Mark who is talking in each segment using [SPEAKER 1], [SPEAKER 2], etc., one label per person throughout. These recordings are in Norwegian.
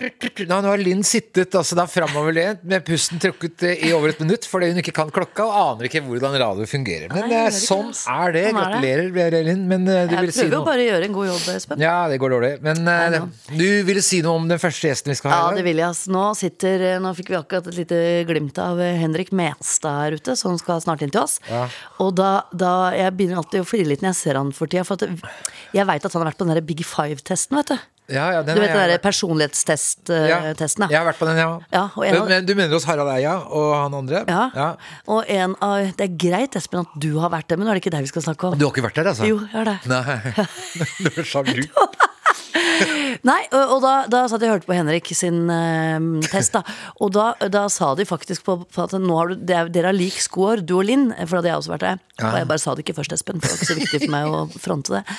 [SPEAKER 1] Nå, nå har Linn sittet altså da framoverlent med pusten trukket eh, i over et minutt fordi hun ikke kan klokka og aner ikke hvordan radio fungerer. Men
[SPEAKER 2] Nei,
[SPEAKER 1] eh,
[SPEAKER 2] jeg gjør ikke
[SPEAKER 1] sånn
[SPEAKER 2] det,
[SPEAKER 1] er det.
[SPEAKER 2] Sånn er
[SPEAKER 1] Gratulerer, eh, Linn. Men eh, du
[SPEAKER 2] Jeg
[SPEAKER 1] ville si
[SPEAKER 2] prøver jo
[SPEAKER 1] noe.
[SPEAKER 2] bare å gjøre en god jobb, Espen.
[SPEAKER 1] Ja, det går dårlig. Men eh, du ville si noe om den første gjesten vi skal
[SPEAKER 2] Ja,
[SPEAKER 1] ha i
[SPEAKER 2] det
[SPEAKER 1] dag?
[SPEAKER 2] vil jeg. ass. Nå, sitter, eh, nå fikk vi akkurat et lite glimt av eh, Henrik Mestad her ute, som skal snart inn til oss.
[SPEAKER 1] Ja.
[SPEAKER 2] Og da, da Jeg begynner alltid å flire litt når jeg ser han for tida, for at jeg veit at han har vært på den der Big Five-testen, vet du.
[SPEAKER 1] Ja, ja, den
[SPEAKER 2] Du
[SPEAKER 1] har
[SPEAKER 2] vet den der
[SPEAKER 1] jeg
[SPEAKER 2] eh,
[SPEAKER 1] vært- Ja,
[SPEAKER 2] personlighetstesten,
[SPEAKER 1] Jeg har vært på den, ja.
[SPEAKER 2] Ja, og en
[SPEAKER 1] men,
[SPEAKER 2] av-
[SPEAKER 1] men du mener oss Harald Eia og han andre?
[SPEAKER 2] Ja. Og en av Det er greit, Espen, at du har vært det, men nå er det ikke deg vi skal snakke om.
[SPEAKER 1] Du har ikke vært der, altså?
[SPEAKER 2] Jo, jeg har det.
[SPEAKER 1] Nei. Du er sjalu.
[SPEAKER 2] Nei, og, og da, da satt jeg og hørte på Henrik sin eh, test, da. Og da, da sa de faktisk på, på at nå har du, det er, dere har lik score, du og Linn, for da hadde jeg også vært det. Og jeg bare sa det ikke først, Espen, for det var ikke så viktig for meg å fronte det.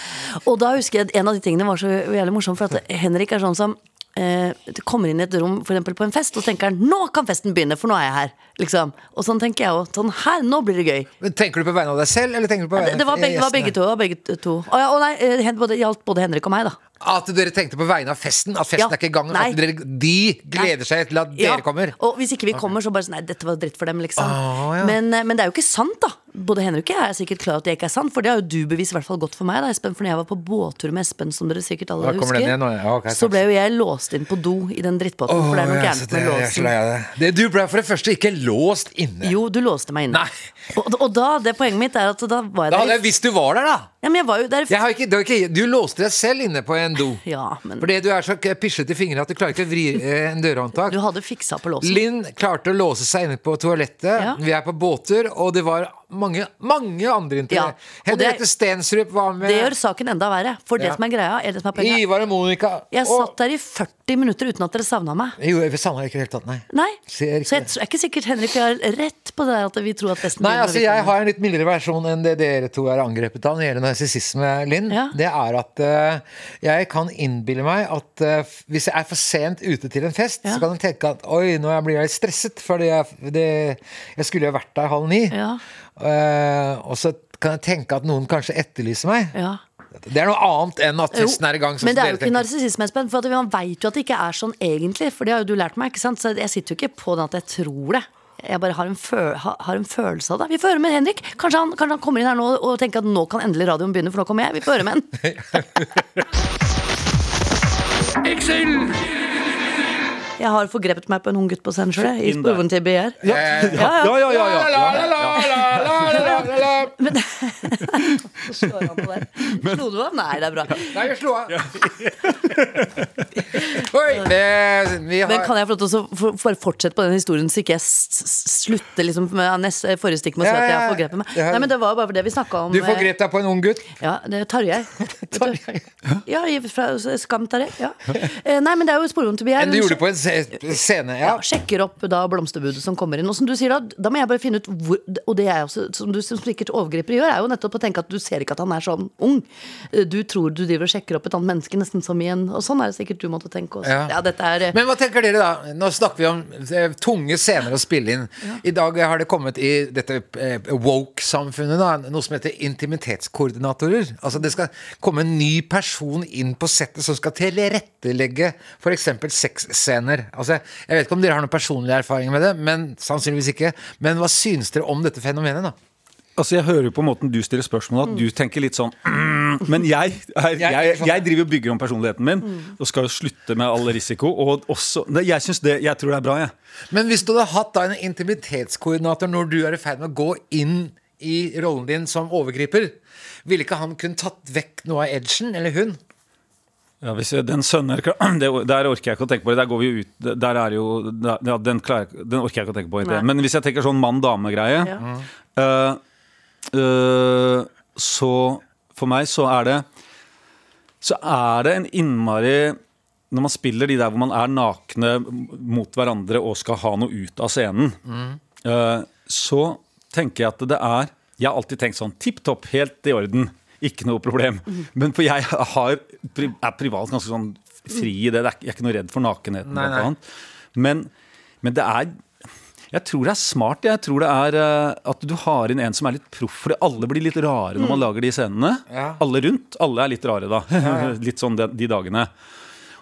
[SPEAKER 2] Og da husker jeg at en av de tingene var så jævlig morsom, for at Henrik er sånn som eh, det kommer inn i et rom for eksempel på en fest, og så tenker han 'nå kan festen begynne, for nå er jeg her'. Liksom. Og sånn tenker jeg òg. Sånn her, nå blir det gøy.
[SPEAKER 1] Men Tenker du på vegne av deg selv, eller tenker du på vegne
[SPEAKER 2] Det, det var
[SPEAKER 1] av
[SPEAKER 2] begge, det var
[SPEAKER 1] gjestene?
[SPEAKER 2] begge to. det Var begge to. Å, ja, å nei, eh, hen- både- det gjaldt både Henrik og meg, da.
[SPEAKER 1] At dere tenkte på vegne av festen, at festen
[SPEAKER 2] Ja.
[SPEAKER 1] er ikke i gang.
[SPEAKER 2] Nei.
[SPEAKER 1] At dere, de gleder seg til at dere
[SPEAKER 2] Ja,
[SPEAKER 1] kommer.
[SPEAKER 2] Og hvis ikke vi kommer, så bare sånn Nei, dette var dritt for dem, liksom.
[SPEAKER 1] Ah, ja.
[SPEAKER 2] men, men det er jo ikke sant, da. Både Henrik og jeg er sikkert klar over at det ikke er sant, for det har jo du bevist i hvert fall godt for meg, da, Espen. For når jeg var på båttur med Espen, som dere sikkert alle
[SPEAKER 1] Da kommer
[SPEAKER 2] husker,
[SPEAKER 1] den igjen, og- ja, ok,
[SPEAKER 2] så
[SPEAKER 1] takk.
[SPEAKER 2] ble jo jeg låst inn på do i den drittbåten, for det er noe
[SPEAKER 1] Åh, ja, så
[SPEAKER 2] gærent med
[SPEAKER 1] det- jeg er så
[SPEAKER 2] låsen.
[SPEAKER 1] lei av det. Det- Du ble for det første ikke låst inne.
[SPEAKER 2] Jo, du låste meg inne.
[SPEAKER 1] Nei.
[SPEAKER 2] Og, og da, det poenget mitt er at da var jeg
[SPEAKER 1] Da hadde
[SPEAKER 2] der
[SPEAKER 1] jeg visst du var der, da!
[SPEAKER 2] Ja, men jeg var jo der
[SPEAKER 1] Jeg har ikke, det var ikke, du låste deg selv inne på en do.
[SPEAKER 2] Ja, men
[SPEAKER 1] Fordi du er så k- pislet i fingrene at du klarer ikke å vri eh, en
[SPEAKER 2] du
[SPEAKER 1] dørhåndtak.
[SPEAKER 2] hadde fiksa på låsen.
[SPEAKER 1] Linn klarte å låse seg inne på toalettet.
[SPEAKER 2] Ja.
[SPEAKER 1] Vi er på båter, og det var mange mange andre inntil.
[SPEAKER 2] Ja, og
[SPEAKER 1] Henriette
[SPEAKER 2] det-
[SPEAKER 1] Stensrup var med.
[SPEAKER 2] Det gjør saken enda verre. For det
[SPEAKER 1] Ja.
[SPEAKER 2] som er greia, eller det som er poenget
[SPEAKER 1] Ivar og Monica.
[SPEAKER 2] Jeg
[SPEAKER 1] og-
[SPEAKER 2] satt der i 40 minutter uten at dere savna meg.
[SPEAKER 1] Jo, jeg savner deg ikke i det hele tatt, nei.
[SPEAKER 2] Nei, så
[SPEAKER 1] Ser
[SPEAKER 2] jeg,
[SPEAKER 1] ikke det.
[SPEAKER 2] tr- er ikke sikkert Henrik har rett på det der at vi tror at festen
[SPEAKER 1] Nei,
[SPEAKER 2] begynner når
[SPEAKER 1] altså
[SPEAKER 2] vi kommer.
[SPEAKER 1] Jeg har en litt mildere versjon enn det dere to er angrepet av når det gjelder narsissisme, Linn.
[SPEAKER 2] Ja.
[SPEAKER 1] Det er at eh, jeg kan innbille meg at eh, f- hvis jeg er for sent ute til en fest,
[SPEAKER 2] Ja.
[SPEAKER 1] så kan jeg tenke at oi, nå blir jeg litt stresset, fordi jeg, det, jeg skulle jo vært der halv ni.
[SPEAKER 2] Ja.
[SPEAKER 1] Eh, og så kan jeg tenke at noen kanskje etterlyser meg.
[SPEAKER 2] Ja.
[SPEAKER 1] Det er noe annet enn at
[SPEAKER 2] Jo,
[SPEAKER 1] festen er i gang. sånn
[SPEAKER 2] men det
[SPEAKER 1] som
[SPEAKER 2] er jo
[SPEAKER 1] dere
[SPEAKER 2] ikke
[SPEAKER 1] tenker.
[SPEAKER 2] narsissisme, Espen. For at man veit jo at det ikke er sånn egentlig. For det har jo du lært meg, ikke sant. Så jeg sitter jo ikke på den at jeg tror det. Jeg bare har en, fø ha, har en følelse av det. Vi får høre med Henrik. Kanskje han, kanskje han kommer inn her nå og tenker at nå kan endelig radioen begynne, for nå kommer jeg. Vi får høre med han.
[SPEAKER 3] Excel!
[SPEAKER 2] Jeg har forgrepet meg på en ung gutt på scenen sjøl, i sporven til BR. Ja, ja, ja.
[SPEAKER 4] Ja, ja, ja,
[SPEAKER 1] La,
[SPEAKER 4] ja.
[SPEAKER 1] la, la, la, la, la, la, la.
[SPEAKER 2] Slår han på der. Slo du av? Nei, det er bra.
[SPEAKER 1] Nei, jeg slo av. Oi, det, vi har
[SPEAKER 2] Men kan jeg få lov til å så- for- for- fortsette på den historien, så ikke jeg s- s- slutter liksom med neste, forrige stikk med å si
[SPEAKER 1] Ja,
[SPEAKER 2] at jeg
[SPEAKER 1] ja,
[SPEAKER 2] har
[SPEAKER 1] ja.
[SPEAKER 2] forgrepet meg?
[SPEAKER 1] Ja.
[SPEAKER 2] Nei, men det var jo bare for det vi snakka om.
[SPEAKER 1] Du forgrep deg på en ung gutt.
[SPEAKER 2] eh, Ja, det er Tarjei.
[SPEAKER 1] Tarjei.
[SPEAKER 2] Ja, i- fra Skam Tarjei. Ja. Eh, Nei, men det er jo sporene til Bjerg.
[SPEAKER 1] Enn du gjorde på en se- scene. Ja.
[SPEAKER 2] ja, sjekker opp da blomsterbudet som kommer inn. Og som du sier da, da må jeg bare finne ut hvor Og det er også, som du som sikkert overgriper gjør, er jo nettopp å tenke at du ser ikke at han er sånn ung. Du tror du driver og sjekker opp et annet menneske nesten som i en Og sånn er det sikkert du måtte tenke også.
[SPEAKER 1] Ja.
[SPEAKER 2] Ja, dette er eh,
[SPEAKER 1] Men hva tenker dere da? Nå snakker vi om eh, tunge scener å spille inn. I dag har det kommet i dette eh, woke-samfunnet da, noe som heter intimitetskoordinatorer. Altså Det skal komme en ny person inn på settet som skal tilrettelegge f.eks. sexscener. Altså, jeg vet ikke om dere har noen personlige erfaringer med det, men sannsynligvis ikke. Men hva syns dere om dette fenomenet, da?
[SPEAKER 4] Altså, jeg hører jo på måten du stiller spørsmål at du tenker litt sånn mm, Men jeg, er, sånn. jeg, jeg driver og bygger om personligheten min og skal jo slutte med all risiko. Og også Nei, Jeg synes det, jeg tror det er bra, jeg.
[SPEAKER 1] Men hvis du hadde hatt da en intimitetskoordinator når du er i ferd med å gå inn i rollen din som overgriper, ville ikke han kunne tatt vekk noe av edgen, eller hun?
[SPEAKER 4] Ja, hvis jeg, den sønner, det, Der orker jeg ikke å tenke på det. Der går vi ut, der er jo, der, ja, den, klarer, jeg ikke- den orker jeg ikke å tenke på. Ikke.
[SPEAKER 2] Nei.
[SPEAKER 4] Men hvis jeg tenker sånn mann-dame-greie
[SPEAKER 2] Ja.
[SPEAKER 4] eh, eh, Så for meg så er det Så er det en innmari Når man spiller de der hvor man er nakne mot hverandre og skal ha noe ut av scenen, eh, så tenker jeg at det er Jeg har alltid tenkt sånn tipp topp, helt i orden. Ikke noe problem. Men for jeg har, pri- er privat ganske sånn fri i det. det er, ikke- jeg er ikke noe redd for nakenheten,
[SPEAKER 1] Nei,
[SPEAKER 4] blant
[SPEAKER 1] nei.
[SPEAKER 4] annet. Men, men det er Jeg tror det er smart. Jeg tror det er eh, at du har inn en som er litt proff. For alle blir litt rare når man lager de scenene.
[SPEAKER 1] Mm. Ja.
[SPEAKER 4] Alle rundt. Alle er litt rare da. litt sånn de, de dagene.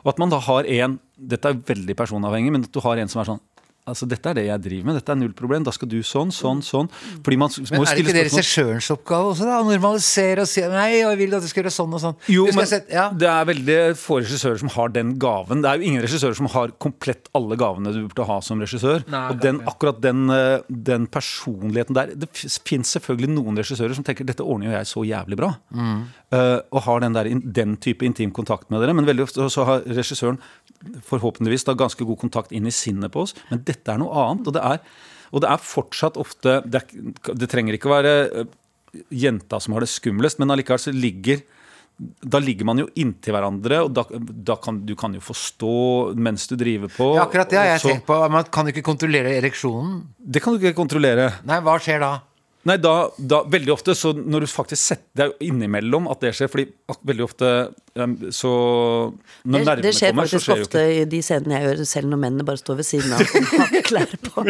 [SPEAKER 4] Og at man da har en Dette er veldig personavhengig, men at du har en som er sånn Altså, dette er det jeg driver med. Dette er null problem. Da skal du sånn, sånn, sånn. Fordi man s- må
[SPEAKER 1] Mm. Men
[SPEAKER 4] jo
[SPEAKER 1] er det
[SPEAKER 4] stille
[SPEAKER 1] ikke det
[SPEAKER 4] spørsmål.
[SPEAKER 1] regissørens oppgave også, da? Å normalisere og si Nei, jeg vil at du skal gjøre sånn og sånn.
[SPEAKER 4] Jo,
[SPEAKER 1] Du skal
[SPEAKER 4] men
[SPEAKER 1] sette- ja.
[SPEAKER 4] det er veldig få regissører som har den gaven. Det er jo ingen regissører som har komplett alle gavene du burde ha som regissør.
[SPEAKER 1] Nei,
[SPEAKER 4] og den, akkurat den, eh, den personligheten der Det fins selvfølgelig noen regissører som tenker dette ordner jo jeg så jævlig bra. Eh, og har den, der, in- den type intim kontakt med dere. Men veldig ofte så har regissøren forhåpentligvis da ganske god kontakt inn i sinnet på oss. Men dette er noe annet. Og det er, og det er fortsatt ofte det, er, det trenger ikke være eh, jenta som har det skumlest, men allikevel så ligger da ligger man jo inntil hverandre, og da, da kan du kan jo forstå mens du driver på.
[SPEAKER 1] Ja, akkurat det har jeg
[SPEAKER 4] og så-
[SPEAKER 1] tenkt på. Man kan jo ikke kontrollere ereksjonen.
[SPEAKER 4] Det kan du ikke kontrollere.
[SPEAKER 1] Nei, hva skjer da?
[SPEAKER 4] Nei, da, da Veldig ofte, så når du faktisk setter Det er jo innimellom at det skjer, fordi ak- veldig ofte em, så Når
[SPEAKER 2] Det, det
[SPEAKER 4] nervene
[SPEAKER 2] skjer
[SPEAKER 4] kommer, så
[SPEAKER 2] faktisk
[SPEAKER 4] skjer jo
[SPEAKER 2] ofte
[SPEAKER 4] ikke
[SPEAKER 2] i de scenene jeg gjør, selv når mennene bare står ved siden av og har klær på.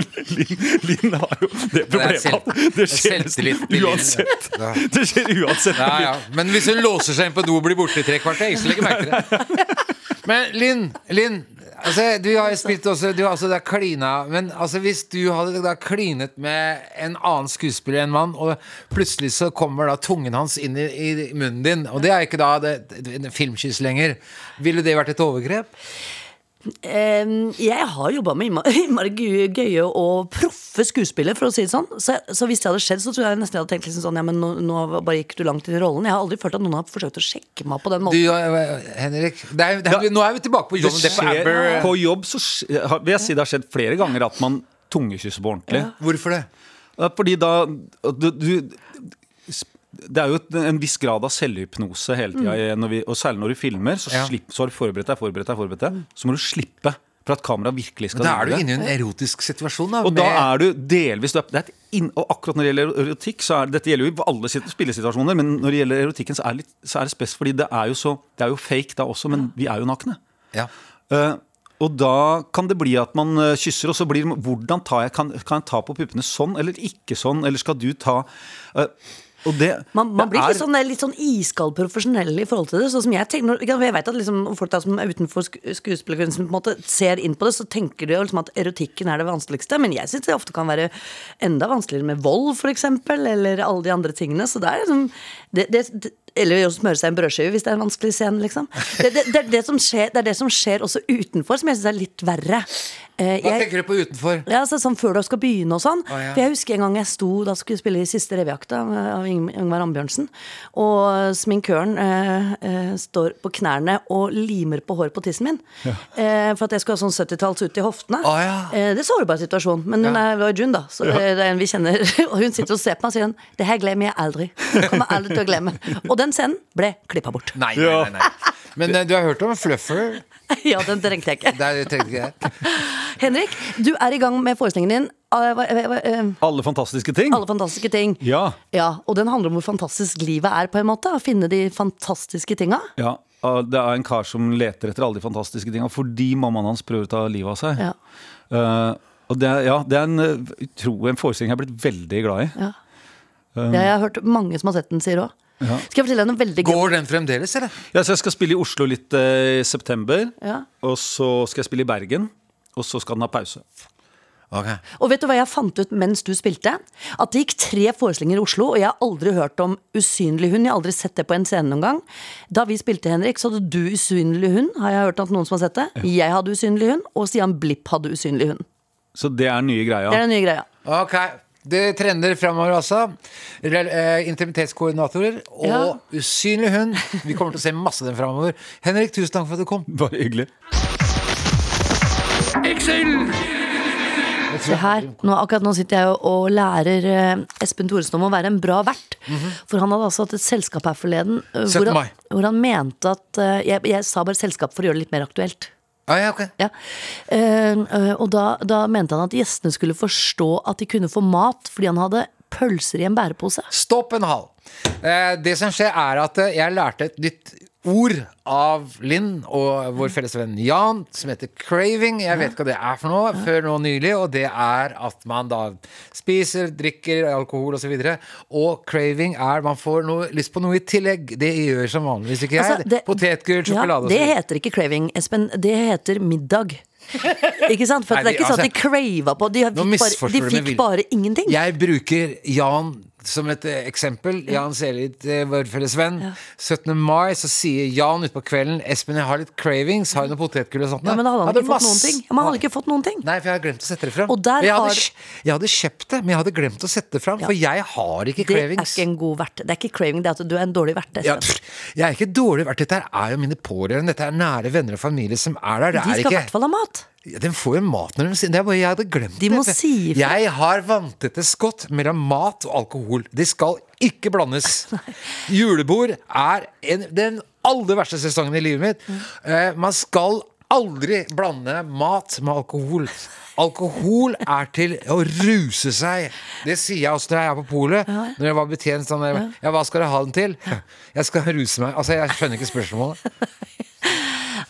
[SPEAKER 4] Linn har jo det problemet.
[SPEAKER 1] selv-
[SPEAKER 4] at det skjer
[SPEAKER 1] det er selvtillit
[SPEAKER 4] nesten
[SPEAKER 1] til Linn.
[SPEAKER 4] uansett. Det skjer uansett.
[SPEAKER 1] Ja, ja. Men hvis hun låser seg inn på do og blir borte i tre kvarter, ikke så legger jeg merke til det. Men Linn, Linn altså, du har jo spilt også Du har også da klina. Men altså, hvis du hadde da klinet med en annen skuespiller enn mann, og plutselig så kommer da tungen hans inn i, i munnen din, og det er ikke da det, det, det filmkyss lenger, ville det vært et overgrep?
[SPEAKER 2] Em, jeg har jobba med innma- innmari gøye- gøye og proffe skuespillere, for å si det sånn. Så, så hvis det hadde skjedd, så tror jeg nesten jeg hadde tenkt liksom sånn Ja, men nå, nå bare gikk du langt inn i rollen. Jeg har aldri følt at noen har forsøkt å sjekke meg på den
[SPEAKER 1] Du,
[SPEAKER 2] måten.
[SPEAKER 1] eh, Henrik det er, det er, Nå er vi tilbake på
[SPEAKER 4] Det
[SPEAKER 1] John Depp og Amber. eh.
[SPEAKER 4] skjer på jobb, så skj- har- vil jeg si det har skjedd flere ganger at man tungekysser på ordentlig.
[SPEAKER 1] Hvorfor det?
[SPEAKER 4] Ja, Fordi da du, du, Det er jo et- en viss grad av selvhypnose hele tida. når vi- Og særlig når du filmer, så,
[SPEAKER 1] Mm. Ja.
[SPEAKER 4] slipp, så har du forberedt deg, forberedt deg, forberedt deg. Så må du slippe for at kameraet virkelig skal
[SPEAKER 1] Da er du
[SPEAKER 4] drive.
[SPEAKER 1] inne i en erotisk situasjon, da.
[SPEAKER 4] Og da
[SPEAKER 1] med-
[SPEAKER 4] er du delvis det er et inn, Og akkurat når det gjelder erotikk, så er det- dette gjelder jo i alle sit- spillesituasjoner, men når det gjelder erotikken, så er, det litt, så er det spes, fordi det er jo så Det er jo fake da også, men vi er jo nakne.
[SPEAKER 1] ja.
[SPEAKER 4] Eh, og da kan det bli at man eh, kysser, og så blir det Hvordan tar jeg, kan, kan jeg ta på puppene sånn eller ikke sånn, eller skal du ta eh, Og det
[SPEAKER 2] Man, man
[SPEAKER 4] det
[SPEAKER 2] blir
[SPEAKER 4] er-
[SPEAKER 2] litt sånn, litt sånn iskald profesjonell i forhold til det. Sånn som jeg tenker når- ikke sant, for Jeg vet at liksom, folk da, som er utenfor sk skuespillerkunsten på en måte ser inn på det, så tenker de jo liksom at erotikken er det vanskeligste. Men jeg syns det ofte kan være enda vanskeligere med vold, f.eks., eller alle de andre tingene. Så det er liksom det, det, det, Eller å smøre seg en brødskive hvis det er en vanskelig scene, liksom. Det, det, det, er det, som skjer, det er det som skjer også utenfor, som jeg syns er litt verre. Eh,
[SPEAKER 1] Hva
[SPEAKER 2] jeg-
[SPEAKER 1] tenker du på utenfor?
[SPEAKER 2] ja, altså, sånn før du skal begynne og sånn.
[SPEAKER 1] ja.
[SPEAKER 2] For jeg husker en gang jeg sto da skulle jeg spille i siste revyakta av Yng- Yngvar Ambjørnsen. Og sminkøren eh, eh, står på knærne og limer på håret på tissen min. Eh, for at jeg skulle ha sånn 70-talls ut i hoftene.
[SPEAKER 1] Å, ja.
[SPEAKER 2] eh, det er sårbar situasjon. Men hun er Roy June, da. Så eh, det er en vi kjenner. Og hun sitter og ser på meg og sier hun, 'Det her glemmer jeg aldri'. Kommer aldri til å glemme. Og den scenen ble klippa bort.
[SPEAKER 1] Nei, nei, nei, nei. Men eh, du har hørt om Fluffer?
[SPEAKER 2] ja, den trengte jeg ikke.
[SPEAKER 1] Der tenkte jeg
[SPEAKER 2] Henrik, du er i gang med forestillingen din. Ah, hva- hva- hva- eh,
[SPEAKER 4] Alle fantastiske ting.
[SPEAKER 2] Alle fantastiske ting.
[SPEAKER 4] Ja.
[SPEAKER 2] Og den handler om hvor fantastisk livet er, på en måte. Å finne de fantastiske tinga.
[SPEAKER 4] Ja, ah, Det er en kar som leter etter alle de fantastiske tinga fordi mammaen hans prøver å ta livet av seg.
[SPEAKER 2] Ja.
[SPEAKER 4] Eh, og det er, ja, det er en, eh, utro, en forestilling jeg er blitt veldig glad i.
[SPEAKER 2] Ja. Det har jeg hørt mange som har sett den, sier òg. Skal jeg fortelle deg noe veldig gøy?
[SPEAKER 1] Går den fremdeles, eller?
[SPEAKER 4] Ja, så jeg skal spille i Oslo litt eh, i september.
[SPEAKER 2] Ja.
[SPEAKER 4] Og så skal jeg spille i Bergen. Og så skal den ha pause.
[SPEAKER 1] Ok
[SPEAKER 2] Og vet du hva jeg fant ut mens du spilte? At det gikk tre forestillinger i Oslo, og jeg har aldri hørt om Usynlig hund. Jeg har aldri sett det på en scene noen gang. Da vi spilte, Henrik, så hadde du Usynlig hund, har jeg hørt at noen som har sett det. Jeg hadde Usynlig hund, og Stian Blipp hadde Usynlig hund.
[SPEAKER 4] Så det er nye greia.
[SPEAKER 2] Det er den nye greia.
[SPEAKER 1] Ok, det trender fremover altså Rel- eh, Intimitetskoordinatorer Og
[SPEAKER 2] Ja.
[SPEAKER 1] usynlig hund Vi kommer til å se masse av den fremover Henrik, tusen takk for at du kom
[SPEAKER 4] Bare hyggelig.
[SPEAKER 3] Excel.
[SPEAKER 2] Se her, nå, akkurat nå sitter jeg og, og lærer eh, Espen Thoresen om å være en bra vert.
[SPEAKER 1] Mhm.
[SPEAKER 2] For han hadde altså hatt et selskap her forleden eh,
[SPEAKER 1] 17.
[SPEAKER 2] hvor han,
[SPEAKER 1] mai.
[SPEAKER 2] hvor han mente at eh, jeg, jeg sa bare selskap for å gjøre det litt mer aktuelt.
[SPEAKER 1] ah, ja, ok.
[SPEAKER 2] Ja. Eh, eh, og da, da mente han at gjestene skulle forstå at de kunne få mat fordi han hadde pølser i en bærepose.
[SPEAKER 1] Stopp en hal eh, Det som skjer er at eh, jeg lærte et nytt ord av Linn og vår felles venn Jan, som heter craving. Jeg vet ikke hva det er for noe, før nå nylig. Og det er at man da spiser, drikker alkohol osv. Og, så videre, og craving er man får noe, lyst på noe i tillegg. Det gjør som vanligvis ikke jeg.
[SPEAKER 2] Altså, det-
[SPEAKER 1] Potetgull, sjokolade og
[SPEAKER 2] ja,
[SPEAKER 1] så
[SPEAKER 2] Det
[SPEAKER 1] videre.
[SPEAKER 2] heter ikke craving, Espen. Det heter middag. Ikke sant? For
[SPEAKER 1] Nei,
[SPEAKER 2] det er
[SPEAKER 1] de-
[SPEAKER 2] ikke sånn at de
[SPEAKER 1] altså,
[SPEAKER 2] crava på De
[SPEAKER 1] Nå
[SPEAKER 2] fikk bare,
[SPEAKER 1] misforstår
[SPEAKER 2] de
[SPEAKER 1] du med
[SPEAKER 2] fikk
[SPEAKER 1] vilje.
[SPEAKER 2] bare ingenting.
[SPEAKER 1] Jeg bruker Jan som et eh, eksempel. Jan Selit, eh, vår felles venn. 17. mai så sier Jan utpå kvelden Espen, jeg har litt cravings. Har du noe potetgull og sånt?
[SPEAKER 2] Ja, men da hadde han
[SPEAKER 1] Hadde
[SPEAKER 2] ikke fått noen
[SPEAKER 1] masse-
[SPEAKER 2] ting. Ja, men han hadde ikke fått noen ting.
[SPEAKER 1] Nei, for jeg hadde glemt å sette det fram.
[SPEAKER 2] Og der
[SPEAKER 1] Men jeg, hadde,
[SPEAKER 2] har-
[SPEAKER 1] kj- jeg hadde kjøpt det, men jeg hadde glemt å sette det fram. For jeg har ikke
[SPEAKER 2] Det er
[SPEAKER 1] cravings.
[SPEAKER 2] ikke en god vert. Det er ikke craving, det er at du er en dårlig vert.
[SPEAKER 1] Ja,
[SPEAKER 2] Espen.
[SPEAKER 1] pff, jeg er ikke dårlig verdt. Dette her er jo mine pårørende. Dette er nære venner og familie som er der.
[SPEAKER 2] de
[SPEAKER 1] Det er
[SPEAKER 2] skal i
[SPEAKER 1] ikke
[SPEAKER 2] hvert fall ha mat.
[SPEAKER 1] ja, Den får jo mat når de sier Det er bare jeg hadde glemt
[SPEAKER 2] De må
[SPEAKER 1] det.
[SPEAKER 2] si ifra.
[SPEAKER 1] Jeg har vanntette skott mellom mat og alkohol. De skal ikke blandes. Julebord er en, den aller verste sesongen i livet mitt. Eh, man skal aldri blande mat med alkohol. Alkohol er til å ruse seg. Det sier jeg også når jeg er på polet. Når jeg var betjent sånn der, Ja, hva skal jeg ha den til? Jeg skal ruse meg. Altså, jeg skjønner ikke spørsmålet.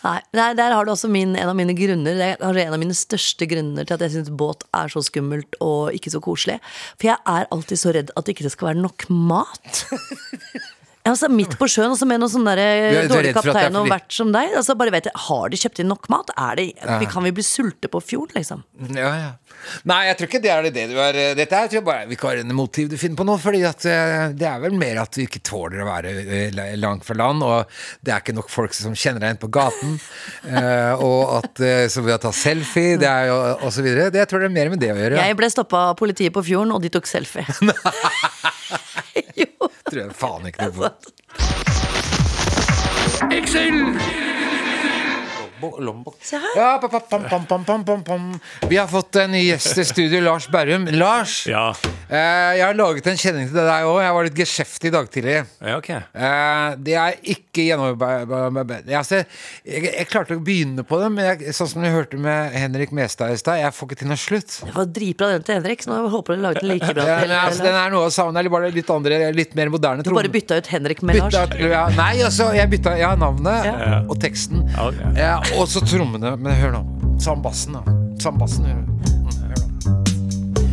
[SPEAKER 2] Nei, nei, der har du også min, en av mine grunner Det er kanskje en av mine største grunner til at jeg syns båt er så skummelt og ikke så koselig. For jeg er alltid så redd at det ikke skal være nok mat. Altså Midt på sjøen, også med noen sånne
[SPEAKER 1] Du er-
[SPEAKER 2] der,
[SPEAKER 1] du er
[SPEAKER 2] dårlig
[SPEAKER 1] redd for at det er
[SPEAKER 2] kaptein og
[SPEAKER 1] fordi-
[SPEAKER 2] vert som deg. Altså bare vet jeg, Har de kjøpt inn nok mat? Er det, vi Kan vi bli sulte på fjorden, liksom?
[SPEAKER 1] Ja, ja. Nei, jeg tror ikke det er det du er eh, Dette er, tror jeg bare er vikarierende motiv du finner på nå. Fordi at eh, det er vel mer at du ikke tåler å være eh, la- langt fra land, og det er ikke nok folk som kjenner deg igjen på gaten, eh, og at eh, som vil ta selfie, det er jo og så videre. Det jeg tror det er mer med det å gjøre.
[SPEAKER 2] Jeg ble stoppa av politiet på fjorden, og de tok selfie. jo.
[SPEAKER 1] Jeg tror jeg faen ikke noe på.
[SPEAKER 3] Excel!
[SPEAKER 1] Bo- Lommebok.
[SPEAKER 2] Se her.
[SPEAKER 1] Ja, pa, pa, pam, pam, pam, pam, pam, pam. Vi har fått en ny gjest i studio, Lars Berrum. Lars,
[SPEAKER 5] Ja.
[SPEAKER 1] eh, jeg har laget en kjenning til deg òg. Jeg var litt geskjeftig i dag tidlig.
[SPEAKER 5] Ja, ok.
[SPEAKER 1] Eh, det er ikke gjennomarbeidet altså, jeg, jeg klarte å begynne på det, men jeg, sånn som du hørte med Henrik Mestad i stad, jeg får ikke til noe slutt.
[SPEAKER 2] Det var dritbra den til Henrik, så nå håper jeg du lager den like bra.
[SPEAKER 1] Eh,
[SPEAKER 2] til-
[SPEAKER 1] men altså, den er noe av samme, det er bare litt andre, litt mer moderne
[SPEAKER 2] Du
[SPEAKER 1] tromme-
[SPEAKER 2] bare bytta ut Henrik med Lars.
[SPEAKER 1] Bytta- ja, nei, altså, jeg bytta ja, navnet
[SPEAKER 2] Ja.
[SPEAKER 1] og teksten.
[SPEAKER 5] Ja, ok.
[SPEAKER 1] Eh, og så trommene. Men hør nå. Samme bassen, da. Samme bassen, hører du. Mm, hør nå.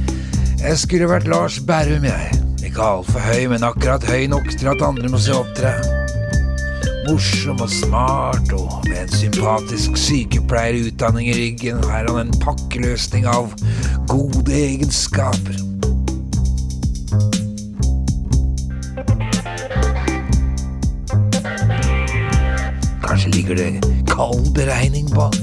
[SPEAKER 1] Jeg skulle vært Lars Berrum, jeg. Ikke altfor høy, men akkurat høy nok til at andre må se opp til deg. Morsom og smart og med en sympatisk sykepleierutdanning i ryggen er han en pakkeløsning av gode egenskaper. Kanskje ligger det kald beregning bak.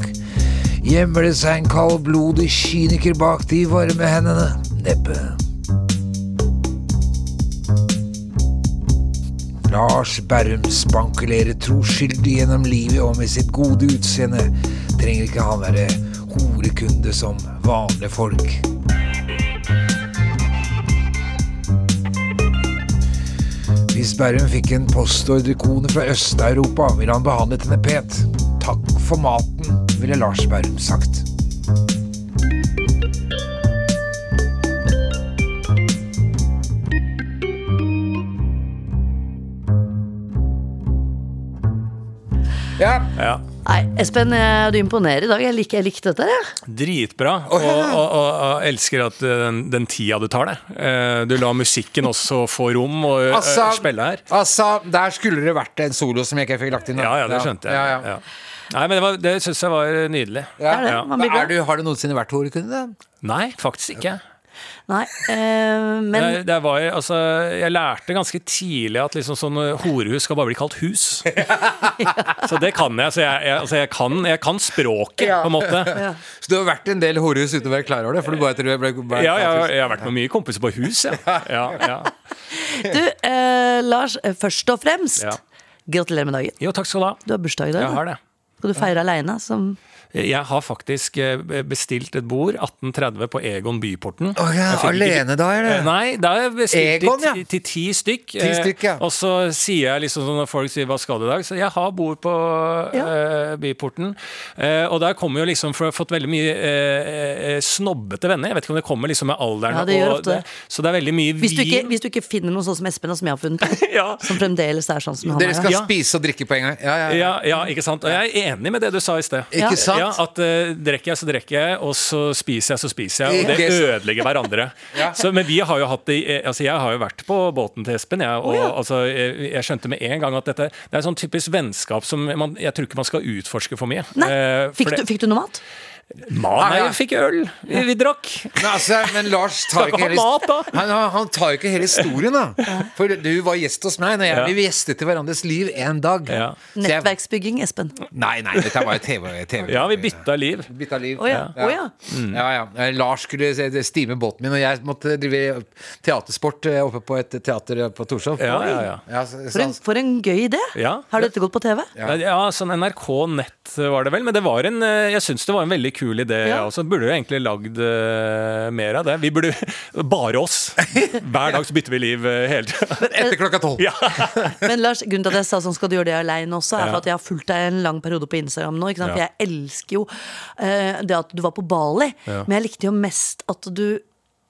[SPEAKER 1] Gjemmer det seg en kaldblodig kyniker bak de varme hendene? Neppe. Lars Berrum spankulerer troskyldig gjennom livet, og med sitt gode utseende trenger ikke han være horekunde som vanlige folk. Hvis Berrum fikk en postordrekone fra Øst-Europa, ville han behandlet henne pent. Takk for maten, ville Lars Berrum sagt. Ja,
[SPEAKER 5] Ja.
[SPEAKER 2] Nei, Espen, eh, du imponerer i dag. Jeg liker, jeg likte dette. her, Jeg.
[SPEAKER 5] Dritbra. Og, og, og, og elsker at eh, den, den tida du tar deg. Eh, Du lar musikken også få rom og eh,
[SPEAKER 1] altså,
[SPEAKER 5] spille her.
[SPEAKER 1] altså Der skulle det vært en solo som jeg ikke fikk lagt inn. da.
[SPEAKER 5] Ja, ja, det skjønte jeg.
[SPEAKER 1] Ja, ja.
[SPEAKER 5] Ja. Nei, men det, var- det syns jeg var nydelig.
[SPEAKER 1] Ja.
[SPEAKER 2] Er det? Man blir
[SPEAKER 1] Er
[SPEAKER 2] glad.
[SPEAKER 1] du, har du noensinne vært horekunde?
[SPEAKER 5] Nei, faktisk ikke.
[SPEAKER 2] Nei, eh, men
[SPEAKER 5] det, det var, altså, jeg lærte ganske tidlig at liksom sånn eh, horehus skal bare bli kalt hus. Så det kan jeg. Så jeg, jeg, altså, jeg, kan, jeg kan språket, på en måte.
[SPEAKER 1] Så du har vært i en del horehus uten å være klar over det? For du bare tror jeg ble, ble,
[SPEAKER 5] Ja, jeg, jeg har vært med mye kompiser på hus, jeg. Ja, ja.
[SPEAKER 2] du, eh, Lars, eh, først og fremst,
[SPEAKER 5] Ja.
[SPEAKER 2] gratulerer med dagen.
[SPEAKER 5] Jo, takk skal du ha.
[SPEAKER 2] Du har bursdag i dag.
[SPEAKER 5] Jeg
[SPEAKER 2] da.
[SPEAKER 5] har det.
[SPEAKER 2] Skal du feire aleine som
[SPEAKER 5] Jeg har faktisk eh, bestilt et bord 1830 på Egon Byporten.
[SPEAKER 1] Å ja,
[SPEAKER 5] Jeg fikk
[SPEAKER 1] alene da, er det?
[SPEAKER 5] Eh, Nei, da har jeg bestilt
[SPEAKER 1] Egon,
[SPEAKER 5] til,
[SPEAKER 1] ja.
[SPEAKER 5] ti- til ti stykk. eh,
[SPEAKER 1] stykk, ja.
[SPEAKER 5] Og så sier jeg liksom sånn når folk sier 'hva skal du i dag', så jeg har bord på eh, Byporten. Eh, og der kommer jo liksom, for jeg har fått veldig mye eh, eh, snobbete venner. Jeg vet ikke om det kommer liksom med alderen.
[SPEAKER 2] Ja, det gjør
[SPEAKER 5] og
[SPEAKER 2] ofte det.
[SPEAKER 5] Så det er veldig mye
[SPEAKER 2] Hvis du, ikke,
[SPEAKER 5] vin.
[SPEAKER 2] hvis du ikke finner noen sånn som Espen, og som jeg har funnet,
[SPEAKER 5] Ja.
[SPEAKER 2] som fremdeles er sånn som han
[SPEAKER 1] Dere
[SPEAKER 2] er.
[SPEAKER 1] skal
[SPEAKER 5] Ja.
[SPEAKER 1] spise og drikke på en gang. Ja, ja.
[SPEAKER 5] Ja, ja, ikke sant? Og jeg er enig med det du sa i sted.
[SPEAKER 1] Ikke
[SPEAKER 2] Ja.
[SPEAKER 1] sant?
[SPEAKER 5] Ja, at eh, Drikker jeg, så drikker jeg, og så spiser jeg, så spiser jeg. Og det
[SPEAKER 1] Ikke sant.
[SPEAKER 5] ødelegger hverandre. så, men vi har jo hatt det i- eh, altså, Jeg har jo vært på båten til Espen, jeg, og altså, jeg, jeg skjønte med en gang at dette Det er sånn typisk vennskap som man, jeg tror ikke man skal utforske for mye.
[SPEAKER 2] Nei,
[SPEAKER 5] Eh, for
[SPEAKER 2] fikk,
[SPEAKER 5] det-
[SPEAKER 2] du, fikk du noe mat?
[SPEAKER 5] Ma- Nei,
[SPEAKER 1] Ja.
[SPEAKER 5] jeg fikk øl! Vi, vi drakk.
[SPEAKER 1] Men, altså, men Lars tar
[SPEAKER 5] Skal
[SPEAKER 1] ikke
[SPEAKER 5] ikke
[SPEAKER 1] hele,
[SPEAKER 5] ha mat,
[SPEAKER 1] han, han- han tar jo ikke hele historien, da. For du var gjest hos meg. Når jeg,
[SPEAKER 5] Ja.
[SPEAKER 1] Vi gjestet i hverandres liv en dag.
[SPEAKER 5] Ja.
[SPEAKER 1] Så jeg-
[SPEAKER 2] Nettverksbygging, Espen.
[SPEAKER 1] Nei, nei, dette var jo TV. TV
[SPEAKER 5] Ja, vi Mm. bytta liv.
[SPEAKER 1] Bytta liv.
[SPEAKER 2] Å ja, å ja.
[SPEAKER 1] Ja, ja. Eh, Lars skulle se- stime båten min, og jeg måtte drive teatersport eh, oppe på et teater på Torshov.
[SPEAKER 5] Ja, ja, ja.
[SPEAKER 1] så,
[SPEAKER 2] For en,
[SPEAKER 1] så,
[SPEAKER 2] for en gøy idé!
[SPEAKER 5] Ja.
[SPEAKER 2] Har dette gått på TV?
[SPEAKER 5] Ja. ja, sånn NRK Nett var det vel, men det var en, eh, jeg syns det var en veldig kul idé. jeg
[SPEAKER 2] Ja.
[SPEAKER 5] også. Burde jo egentlig lagd eh, mer av det. Vi burde bare oss. Hver dag så bytter vi liv eh, hele tida.
[SPEAKER 1] etter klokka tolv.
[SPEAKER 5] Ja.
[SPEAKER 2] Men Lars, grunnen til at jeg sa sånn skal du gjøre det aleine også, er
[SPEAKER 5] Ja.
[SPEAKER 2] for at jeg har fulgt deg en lang periode på Instagram nå. Ikke sant? For
[SPEAKER 5] Ja.
[SPEAKER 2] jeg elsker jo eh, det at du var på Bali,
[SPEAKER 5] Ja.
[SPEAKER 2] men jeg likte jo mest at du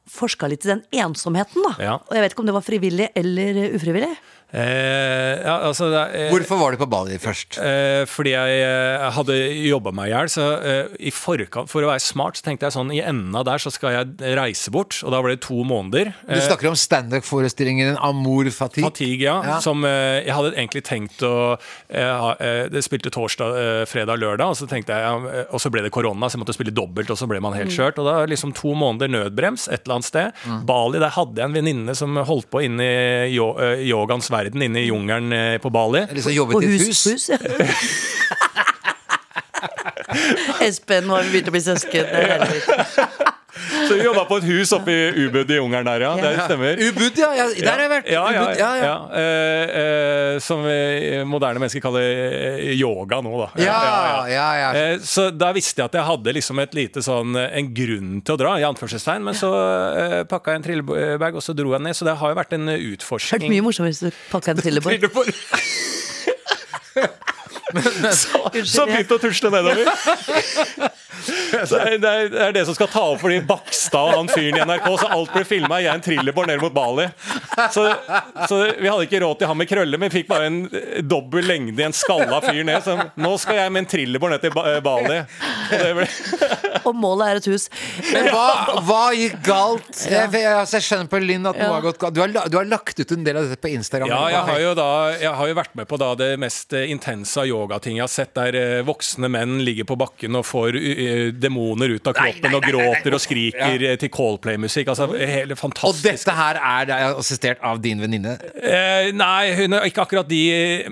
[SPEAKER 2] forska litt i den ensomheten, da.
[SPEAKER 5] Ja.
[SPEAKER 2] Og jeg vet ikke om det var frivillig eller eh, ufrivillig.
[SPEAKER 5] Eh, ja, altså, det er- eh,
[SPEAKER 1] Hvorfor var du på Bali først?
[SPEAKER 5] Eh, fordi jeg eh, hadde jobba meg i hjel. Så eh, i forkant, for å være smart, så tenkte jeg sånn i enden av der så skal jeg reise bort. Og da ble det to måneder. eh,
[SPEAKER 1] Du snakker om standup-forestillingen Amour Fatigue.
[SPEAKER 5] Fatigue, ja.
[SPEAKER 1] Ja.
[SPEAKER 5] Som eh, jeg hadde egentlig tenkt å eh, ha- eh, Det spilte torsdag, eh, fredag, lørdag, og så tenkte jeg, ja, eh, og så ble det korona, så jeg måtte spille dobbelt, og så ble man helt kjørt. Og da liksom to måneder nødbrems et eller annet sted. Bali, der hadde jeg en venninne som holdt på inne i yo- eh, yogaens verden, inne i jungelen eh, på Bali.
[SPEAKER 1] Eller så
[SPEAKER 2] På
[SPEAKER 1] jobbet i et
[SPEAKER 2] hus.
[SPEAKER 1] hus.
[SPEAKER 2] hus ja. Espen, nå har vi begynt å bli søsken. Det er herlig.
[SPEAKER 5] Så vi jobba på et hus oppe i Ubud i jungelen der, ja. Det stemmer.
[SPEAKER 1] Ubud, ja, ja. Der har jeg vært.
[SPEAKER 5] Ja, ja,
[SPEAKER 1] Ubud,
[SPEAKER 5] ja, Eh, eh, som eh, moderne mennesker kaller eh, yoga nå, da.
[SPEAKER 1] Ja, ja, ja.
[SPEAKER 5] Eh, Så da visste jeg at jeg hadde liksom et lite sånn, eh, en grunn til å dra, i anførselstegn. Men så eh, pakka jeg en trillebag, og så dro jeg ned. Så det har jo vært en eh,
[SPEAKER 2] Hørt
[SPEAKER 5] utforsking.
[SPEAKER 2] mye morsommere hvis du pakka en trillebår.
[SPEAKER 5] Trillebår. Så
[SPEAKER 2] Unnskyld. jeg-
[SPEAKER 5] begynte å tusle nedover. Så det, er- det er- det er det som skal ta over for de Bakstad og han fyren i NRK. Så alt ble filma i en trillebår ned mot Bali. Så, så vi hadde ikke råd til han med krøller, men vi fikk bare en eh, dobbel lengde i en skalla fyr ned. Så nå skal jeg med en trillebår ned til Ba- eh, Bali. Og det ble
[SPEAKER 2] Og målet er et hus.
[SPEAKER 1] Men hva, hva gikk galt? Jeg, jeg, altså, jeg skjønner på Linn at noe har gått galt. Du har, la- du har lagt ut en del av dette på Instagram.
[SPEAKER 5] Ja, jeg har jo, da, jeg har jo vært med på da det mest eh, intense av yogating jeg har sett, der eh, voksne menn ligger på bakken og får eh, demoner ut av kroppen og gråter og skriker eh, til Coldplay-musikk. Altså, hele
[SPEAKER 1] Og
[SPEAKER 5] fantastisk.
[SPEAKER 1] dette her er da assistert av din venninne.
[SPEAKER 5] Eh, nei, hun er ikke akkurat de,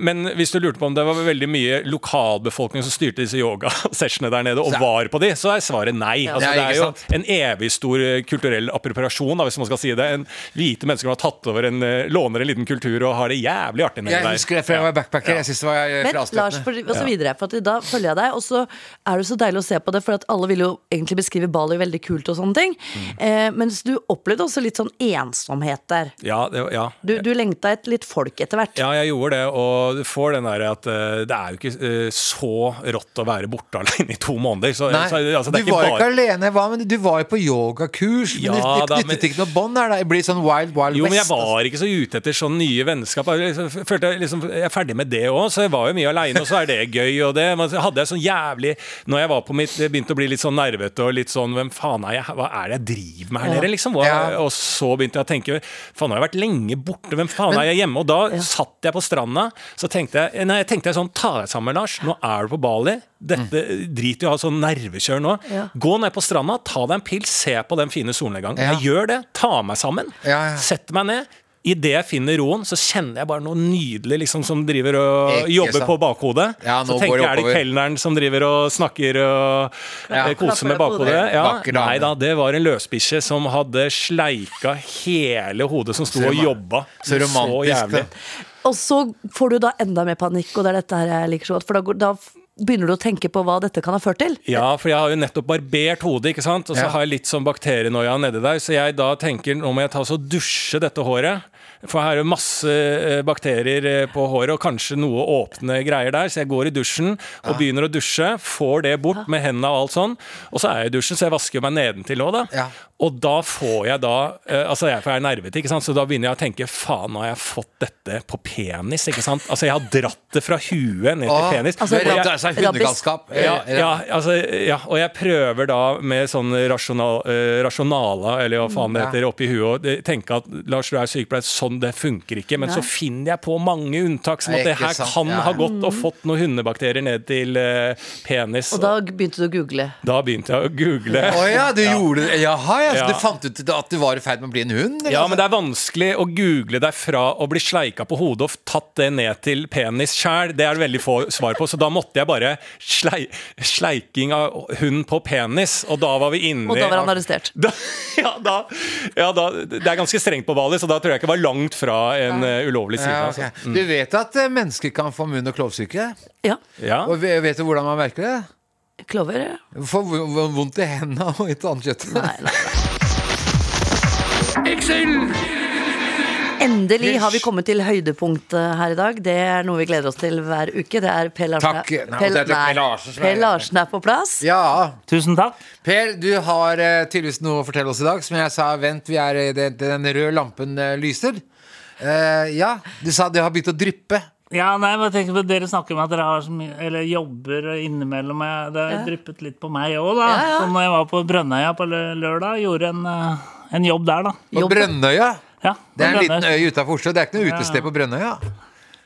[SPEAKER 5] men hvis du lurte på om det var veldig mye lokalbefolkning som styrte disse yogasessionene der nede, og
[SPEAKER 1] Så-
[SPEAKER 5] var på de, så er svaret nei. Altså,
[SPEAKER 1] Ja,
[SPEAKER 5] det er
[SPEAKER 1] ikke
[SPEAKER 5] jo en evig stor eh, kulturell appropriasjon, da, hvis man skal si det. En hvite mennesker som har tatt over en, eh, låner en liten kultur og har det jævlig artig nede
[SPEAKER 1] Jeg
[SPEAKER 5] der.
[SPEAKER 1] husker det fra jeg var backpacker. Jeg synes det var eh,
[SPEAKER 2] Men Lars,
[SPEAKER 1] frastøtende.
[SPEAKER 2] for, og så videre, for at da følger jeg deg, og så er det så deilig å se på det, for at alle vil jo egentlig beskrive Bali veldig kult og sånne ting. Eh, mens du opplevde også litt sånn ensomhet der.
[SPEAKER 5] Ja, det, ja.
[SPEAKER 2] Du, du lengta et litt folk etter hvert.
[SPEAKER 5] ja, jeg gjorde det, og du får den der at eh, det er jo ikke eh, så rått å være borte alene i to måneder. Så,
[SPEAKER 1] Nei,
[SPEAKER 5] så, altså, det er
[SPEAKER 1] du var
[SPEAKER 5] ikke
[SPEAKER 1] jo ikke
[SPEAKER 5] bare
[SPEAKER 1] alene. Hva, men du var jo på yogakurs. Men
[SPEAKER 5] Ja,
[SPEAKER 1] det det
[SPEAKER 5] da,
[SPEAKER 1] knyttet
[SPEAKER 5] men-
[SPEAKER 1] ikke noe bånd her, da. Det blir sånn wild, wild
[SPEAKER 5] jo, men jeg
[SPEAKER 1] west. altså.
[SPEAKER 5] var ikke så ute etter sånn nye vennskap. Jeg, liksom, følte jeg, liksom, jeg er ferdig med det òg, så jeg var jo mye aleine, og så er det gøy. Og det. Men så hadde jeg sånn jævlig Når jeg var på mitt, det begynte å bli litt sånn nervete og litt sånn Hvem faen er jeg? Hva er det jeg driver med her nede? Liksom? Og,
[SPEAKER 1] Ja.
[SPEAKER 5] og så begynte jeg å tenke Faen, har jeg vært lenge borte? Hvem faen er jeg hjemme? Og da satt jeg på stranda, så tenkte jeg Nei, jeg tenkte jeg sånn Ta deg sammen, Lars. Nå er du på Bali. Dette
[SPEAKER 1] Mm.
[SPEAKER 5] driter i å ha sånn nervekjør nå.
[SPEAKER 2] Ja.
[SPEAKER 5] Gå ned på stranda, ta deg en pils, se på den fine solnedgangen.
[SPEAKER 1] Ja.
[SPEAKER 5] Jeg gjør det. Ta meg sammen.
[SPEAKER 1] Ja, ja.
[SPEAKER 5] Setter meg ned. Idet jeg finner roen, så kjenner jeg bare noe nydelig liksom, som driver og
[SPEAKER 1] Ikke
[SPEAKER 5] jobber
[SPEAKER 1] sant.
[SPEAKER 5] på bakhodet.
[SPEAKER 1] Ja,
[SPEAKER 5] så
[SPEAKER 1] nå går
[SPEAKER 5] tenker
[SPEAKER 1] det
[SPEAKER 5] jeg er det
[SPEAKER 1] oppover.
[SPEAKER 5] kelneren som driver og snakker og
[SPEAKER 1] Ja.
[SPEAKER 5] eh, koser med
[SPEAKER 2] Klapper deg på
[SPEAKER 5] bakhodet.
[SPEAKER 1] hodet.
[SPEAKER 5] Ja.
[SPEAKER 1] Vakker dame.
[SPEAKER 5] Nei da, det var en løsbikkje som hadde sleika hele hodet, som sto og
[SPEAKER 1] roma-
[SPEAKER 5] jobba
[SPEAKER 1] Så romantisk.
[SPEAKER 5] jævlig.
[SPEAKER 1] det.
[SPEAKER 2] Og så får du da enda mer panikk, og det er dette her jeg liker så godt. For da, går, da f- begynner du å tenke på hva dette kan ha ført til.
[SPEAKER 5] Ja, for jeg har jo nettopp barbert hodet, ikke sant? og så
[SPEAKER 1] Ja.
[SPEAKER 5] har jeg litt sånn bakterienoia nedi der. Så jeg da tenker nå må jeg ta og så dusje dette håret. For her er det masse eh, bakterier eh, på håret, og kanskje noe åpne greier der. Så jeg går i dusjen og begynner å dusje. Får det bort med hendene og alt sånn. Og så er jeg i dusjen, så jeg vasker meg nedentil òg, da.
[SPEAKER 1] Ja.
[SPEAKER 5] Og da får jeg da eh, Altså, jeg, for jeg er nervete, ikke sant? så da begynner jeg å tenke faen, nå har jeg fått dette på penis, ikke sant? Altså, jeg har dratt det fra huet ned til
[SPEAKER 1] Åh,
[SPEAKER 5] penis.
[SPEAKER 1] altså,
[SPEAKER 5] Og jeg-
[SPEAKER 1] det er seg hundegalskap.
[SPEAKER 5] ja,
[SPEAKER 1] Eh,
[SPEAKER 5] ja, altså, ja, og jeg prøver da med sånn rasjonal, eh, rasjonala, eller hva faen det heter, oppi huet, og det- tenke at Lars, du er sykepleier, sånn det funker ikke. Men så finner jeg på mange unntak, som at
[SPEAKER 1] Nei,
[SPEAKER 5] det
[SPEAKER 1] ikke
[SPEAKER 5] her
[SPEAKER 1] sant,
[SPEAKER 5] kan
[SPEAKER 1] ja.
[SPEAKER 5] ha gått og fått noen hundebakterier ned til eh, penis.
[SPEAKER 2] Og da begynte du å google.
[SPEAKER 5] da begynte jeg å google.
[SPEAKER 1] Å ja, du gjorde det. Jaha, ja. Så
[SPEAKER 5] Ja.
[SPEAKER 1] du fant ut at du var i ferd med å bli en hund?
[SPEAKER 5] Ja, men det er vanskelig å google deg fra å bli sleika på hodet og tatt det ned til penis sjæl. Det er det veldig få svar på, så da måtte jeg bare slei, sleiking av hund på penis, og da var vi inne
[SPEAKER 2] Og da
[SPEAKER 5] i-
[SPEAKER 2] var han arrestert.
[SPEAKER 5] Da, ja, da, ja, da Det er ganske strengt på Bali, så da tror jeg ikke jeg var langt fra en eh, ulovlig side.
[SPEAKER 1] Ja,
[SPEAKER 5] altså.
[SPEAKER 1] ok.
[SPEAKER 6] Mm.
[SPEAKER 1] Du vet at eh, mennesker kan få munn- og klovsyke?
[SPEAKER 2] Ja.
[SPEAKER 5] Ja.
[SPEAKER 1] Og ve- vet du hvordan man merker det?
[SPEAKER 2] Klover? ja.
[SPEAKER 1] Får v- v- vondt i hendene og i tannkjøttet.
[SPEAKER 2] Nei, nei.
[SPEAKER 3] Excel,
[SPEAKER 2] Endelig har vi kommet til høydepunktet her i dag. Det er noe vi gleder oss til hver uke. Det er Per Larsen,
[SPEAKER 1] Takk. Nei,
[SPEAKER 2] Per,
[SPEAKER 1] det er Per
[SPEAKER 2] nei,
[SPEAKER 1] Larsen som er-
[SPEAKER 2] per Larsen er på plass.
[SPEAKER 1] Ja.
[SPEAKER 6] Tusen takk.
[SPEAKER 1] Per, du har eh, tydeligvis noe å fortelle oss i dag. Som jeg sa, vent, vi er, i det, den røde lampen eh, lyser. Eh, ja, du sa det har begynt å dryppe.
[SPEAKER 6] Ja, nei, men jeg tenker på Dere snakker om at dere har så mye, eller jobber innimellom. Jeg, det har dryppet litt på meg òg, da.
[SPEAKER 2] Ja, ja.
[SPEAKER 6] Så når jeg var på Brønnøya på lø- lørdag, gjorde en, eh, en jobb der, da.
[SPEAKER 1] På
[SPEAKER 2] Jobb.
[SPEAKER 1] Brønnøya.
[SPEAKER 6] Ja,
[SPEAKER 1] Det er en
[SPEAKER 6] på Brønnøya.
[SPEAKER 1] liten øy utafor Oslo. Det er ikke noe utested på Brønnøya.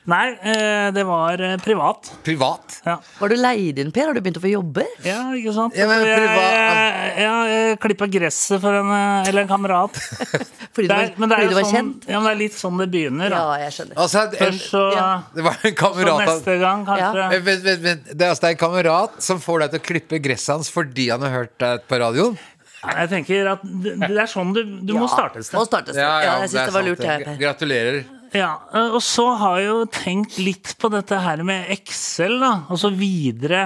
[SPEAKER 6] Nei, eh, det var eh, privat.
[SPEAKER 1] Privat.
[SPEAKER 6] Ja.
[SPEAKER 2] Var du leid inn, Per? Har du begynt å få jobber?
[SPEAKER 6] Ja, ikke sant?
[SPEAKER 1] Ja, men
[SPEAKER 6] Så jeg,
[SPEAKER 1] privat-
[SPEAKER 6] jeg, jeg, jeg klippa gresset for en, eh, eller en kamerat.
[SPEAKER 2] Fordi du
[SPEAKER 6] Det
[SPEAKER 2] var,
[SPEAKER 6] er, men det er,
[SPEAKER 2] fordi du
[SPEAKER 6] jo
[SPEAKER 2] var
[SPEAKER 6] sånn,
[SPEAKER 2] kjent?
[SPEAKER 6] ja, men det er litt sånn det begynner.
[SPEAKER 2] Ja,
[SPEAKER 6] Da.
[SPEAKER 2] jeg skjønner.
[SPEAKER 1] Altså, en,
[SPEAKER 6] Først så,
[SPEAKER 2] Ja.
[SPEAKER 1] det var en
[SPEAKER 6] så
[SPEAKER 1] kamerat av-
[SPEAKER 6] neste gang, kanskje.
[SPEAKER 1] Eh, Vent, vent, vent. Det er altså det er en kamerat som får deg til å klippe gresset hans fordi han har hørt deg på radioen?
[SPEAKER 6] Jeg tenker at det, det er sånn du, du må starte et sted.
[SPEAKER 2] Må starte et sted. Ja, jeg syns det, var lurt, jeg, Per.
[SPEAKER 1] Gratulerer.
[SPEAKER 6] Ja, eh, og så har jeg jo tenkt litt på dette her med Excel, da. Og så videre.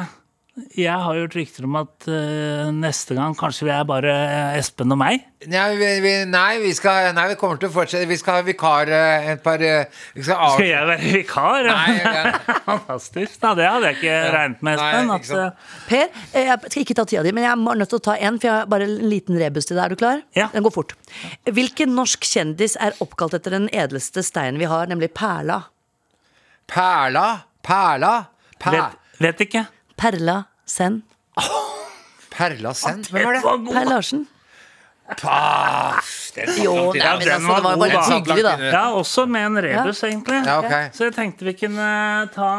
[SPEAKER 6] Jeg har hørt rykter om at eh, neste gang kanskje vi er bare eh, Espen og meg.
[SPEAKER 1] Nei, vi, vi, nei, vi skal, nei, vi kommer til å fortsette. Vi skal ha vikar eh, et par eh, Vi skal av...
[SPEAKER 6] Skal jeg være vikar?
[SPEAKER 1] Nei, ja.
[SPEAKER 6] Fantastisk. Da, det hadde jeg ikke regnet med,
[SPEAKER 1] Nei,
[SPEAKER 6] Espen.
[SPEAKER 1] ikke
[SPEAKER 6] At,
[SPEAKER 1] sant.
[SPEAKER 6] eh,
[SPEAKER 2] Per, eh, jeg skal ikke ta tida di, men jeg er nødt til å ta en, for jeg har bare en liten rebus til deg. Er du klar?
[SPEAKER 6] Ja.
[SPEAKER 2] Den går fort. Hvilken norsk kjendis er oppkalt etter den edleste steinen vi har, nemlig perla?
[SPEAKER 1] Perla. Perla. Per,
[SPEAKER 6] eh, vet, vet ikke.
[SPEAKER 2] Perla Sen.
[SPEAKER 1] perla Send. Hvem er det?
[SPEAKER 2] Per Larsen. Jo,
[SPEAKER 1] langt
[SPEAKER 2] nei,
[SPEAKER 1] inne.
[SPEAKER 2] men altså, det
[SPEAKER 6] Ja, den var
[SPEAKER 2] var
[SPEAKER 6] god,
[SPEAKER 2] bare
[SPEAKER 6] da.
[SPEAKER 2] hyggelig, da.
[SPEAKER 6] Ja, også med en rebus, egentlig.
[SPEAKER 1] Ja, ok.
[SPEAKER 6] Så jeg tenkte vi kunne eh, ta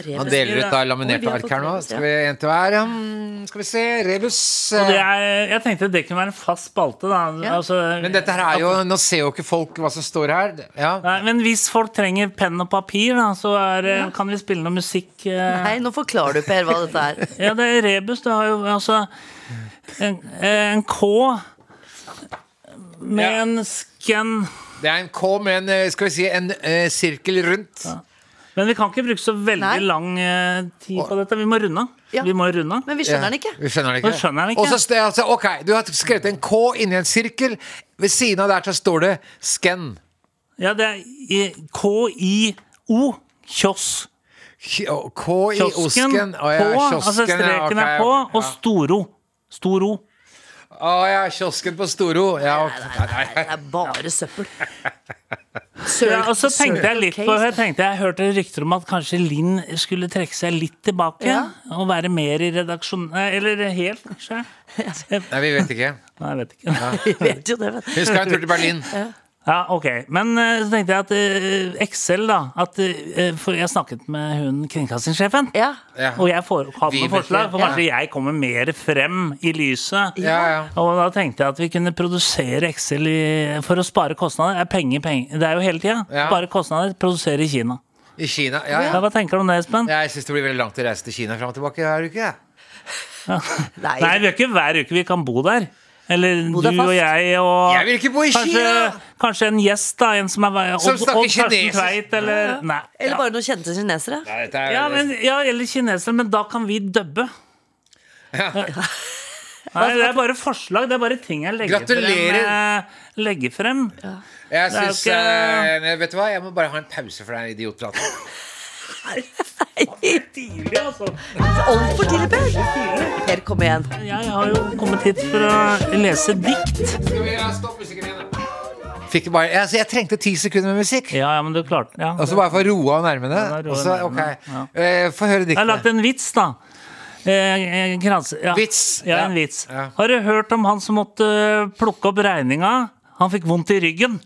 [SPEAKER 1] Han
[SPEAKER 2] Rebus.
[SPEAKER 1] deler ut av
[SPEAKER 2] Oi, vi
[SPEAKER 1] laminerte
[SPEAKER 2] har
[SPEAKER 1] ark her nå.
[SPEAKER 2] fått rebus, ja.
[SPEAKER 1] Skal vi en til hver? Hmm, skal vi se. Rebus. eh,
[SPEAKER 6] og det er, Jeg tenkte det kunne være en fast spalte, da.
[SPEAKER 2] Ja.
[SPEAKER 6] Altså,
[SPEAKER 1] Men dette her er jo Nå ser jo ikke folk hva som står her. Ja.
[SPEAKER 6] Nei, men hvis folk trenger penn og papir, da, så er, det- kan vi spille noe musikk. eh.
[SPEAKER 2] Nei, nå forklarer du, Per, hva dette er.
[SPEAKER 6] Ja, det er rebus. Det har jo altså en, en K med
[SPEAKER 1] Ja.
[SPEAKER 6] en skann
[SPEAKER 1] Det er en K med en, eh, skal vi si, en eh, sirkel rundt.
[SPEAKER 6] Men vi kan ikke bruke så veldig
[SPEAKER 2] Nei.
[SPEAKER 6] lang eh, tid på dette. Vi må runde av.
[SPEAKER 2] Ja.
[SPEAKER 6] Vi må runde av.
[SPEAKER 2] Men vi skjønner den ikke.
[SPEAKER 1] Vi skjønner den ikke.
[SPEAKER 6] Vi skjønner den ikke.
[SPEAKER 1] Og så st- altså, ok, Du har skrevet en K inni en sirkel. Ved siden av der så står det 'scan'.
[SPEAKER 6] Ja, det er i- K-I-O. Kiosk.
[SPEAKER 1] K K i
[SPEAKER 6] Kiosken
[SPEAKER 1] osken.
[SPEAKER 6] på.
[SPEAKER 1] Å ja,
[SPEAKER 6] altså
[SPEAKER 1] kiosken. ja,
[SPEAKER 6] streken er
[SPEAKER 1] ok.
[SPEAKER 6] på, og
[SPEAKER 1] ja.
[SPEAKER 6] storo. Storo.
[SPEAKER 1] Å ja, kiosken på Storo. Ja, ok.
[SPEAKER 2] Det er bare søppel.
[SPEAKER 6] Ja, og så tenkte jeg litt på
[SPEAKER 2] Sølvcase.
[SPEAKER 6] Jeg tenkte jeg hørte rykter om at kanskje Linn skulle trekke seg litt tilbake.
[SPEAKER 2] Ja.
[SPEAKER 6] Og være mer i redaksjon... eh, Eller helt, kanskje.
[SPEAKER 1] Nei, vi vet ikke.
[SPEAKER 6] Nei, jeg vet ikke.
[SPEAKER 2] Vi vet jo det, vet du.
[SPEAKER 1] Vi skal en tur til Berlin.
[SPEAKER 6] Ja, ok. Men eh, så tenkte jeg at eh, Excel, da at, eh, For jeg snakket med hun kringkastingssjefen.
[SPEAKER 2] Ja.
[SPEAKER 1] Ja.
[SPEAKER 6] Og jeg får, hadde noen
[SPEAKER 1] Vibeke,
[SPEAKER 6] forslag, for kanskje jeg kommer mer frem i lyset.
[SPEAKER 1] Ja, ja.
[SPEAKER 6] Og da tenkte jeg at vi kunne produsere Excel i, for å spare kostnader. Det er penger, penger. Det er jo hele tida.
[SPEAKER 1] Ja.
[SPEAKER 6] Spare kostnader, produsere i Kina.
[SPEAKER 1] I Kina. Ja,
[SPEAKER 6] Ja,
[SPEAKER 1] ja.
[SPEAKER 6] hva tenker du om det, Espen?
[SPEAKER 1] Jeg syns det blir veldig langt å reise til Kina fram og tilbake hver uke. jeg.
[SPEAKER 2] Nei.
[SPEAKER 6] Nei, vi gjør ikke hver uke vi kan bo der. Eller
[SPEAKER 2] Bo
[SPEAKER 6] du
[SPEAKER 2] deg fast.
[SPEAKER 6] og jeg og
[SPEAKER 1] Jeg vil ikke bo i
[SPEAKER 6] kanskje,
[SPEAKER 1] Kina!
[SPEAKER 6] kanskje en gjest, da. En som, er,
[SPEAKER 1] Som snakker kinesisk.
[SPEAKER 6] Tveit, eller Nei.
[SPEAKER 2] Eller bare noen kjente kinesere.
[SPEAKER 1] Nei, dette er,
[SPEAKER 6] Ja, men, ja, eller kinesere, men da kan vi dubbe. Nei, det er bare forslag. Det er bare ting jeg legger
[SPEAKER 1] Gratulerer.
[SPEAKER 6] frem. eh, Legger frem.
[SPEAKER 1] jeg
[SPEAKER 6] er jo
[SPEAKER 1] synes,
[SPEAKER 6] ikke-
[SPEAKER 1] eh, Vet du hva, jeg må bare ha en pause for den idiotpraten.
[SPEAKER 6] Tidlig, altså.
[SPEAKER 2] Altfor tidlig, Per. Per, kom igjen.
[SPEAKER 6] Jeg har jo kommet hit for å lese dikt.
[SPEAKER 1] Fikk bare, altså, jeg trengte ti sekunder med musikk.
[SPEAKER 6] Ja, ja, men du klarte ja.
[SPEAKER 1] Og så bare for å roe av nervene.
[SPEAKER 6] Ja, roe av
[SPEAKER 1] Og så, ok,
[SPEAKER 6] nervene, ja.
[SPEAKER 1] Eh, Få høre
[SPEAKER 6] Jeg har
[SPEAKER 1] diktene.
[SPEAKER 6] lagt en vits, da. Eh, eh, krans, ja.
[SPEAKER 1] Vits,
[SPEAKER 6] Ja,
[SPEAKER 1] ja.
[SPEAKER 6] en vits.
[SPEAKER 1] Ja.
[SPEAKER 6] Har du hørt om han som måtte eh, plukke opp regninga? Han fikk vondt i ryggen.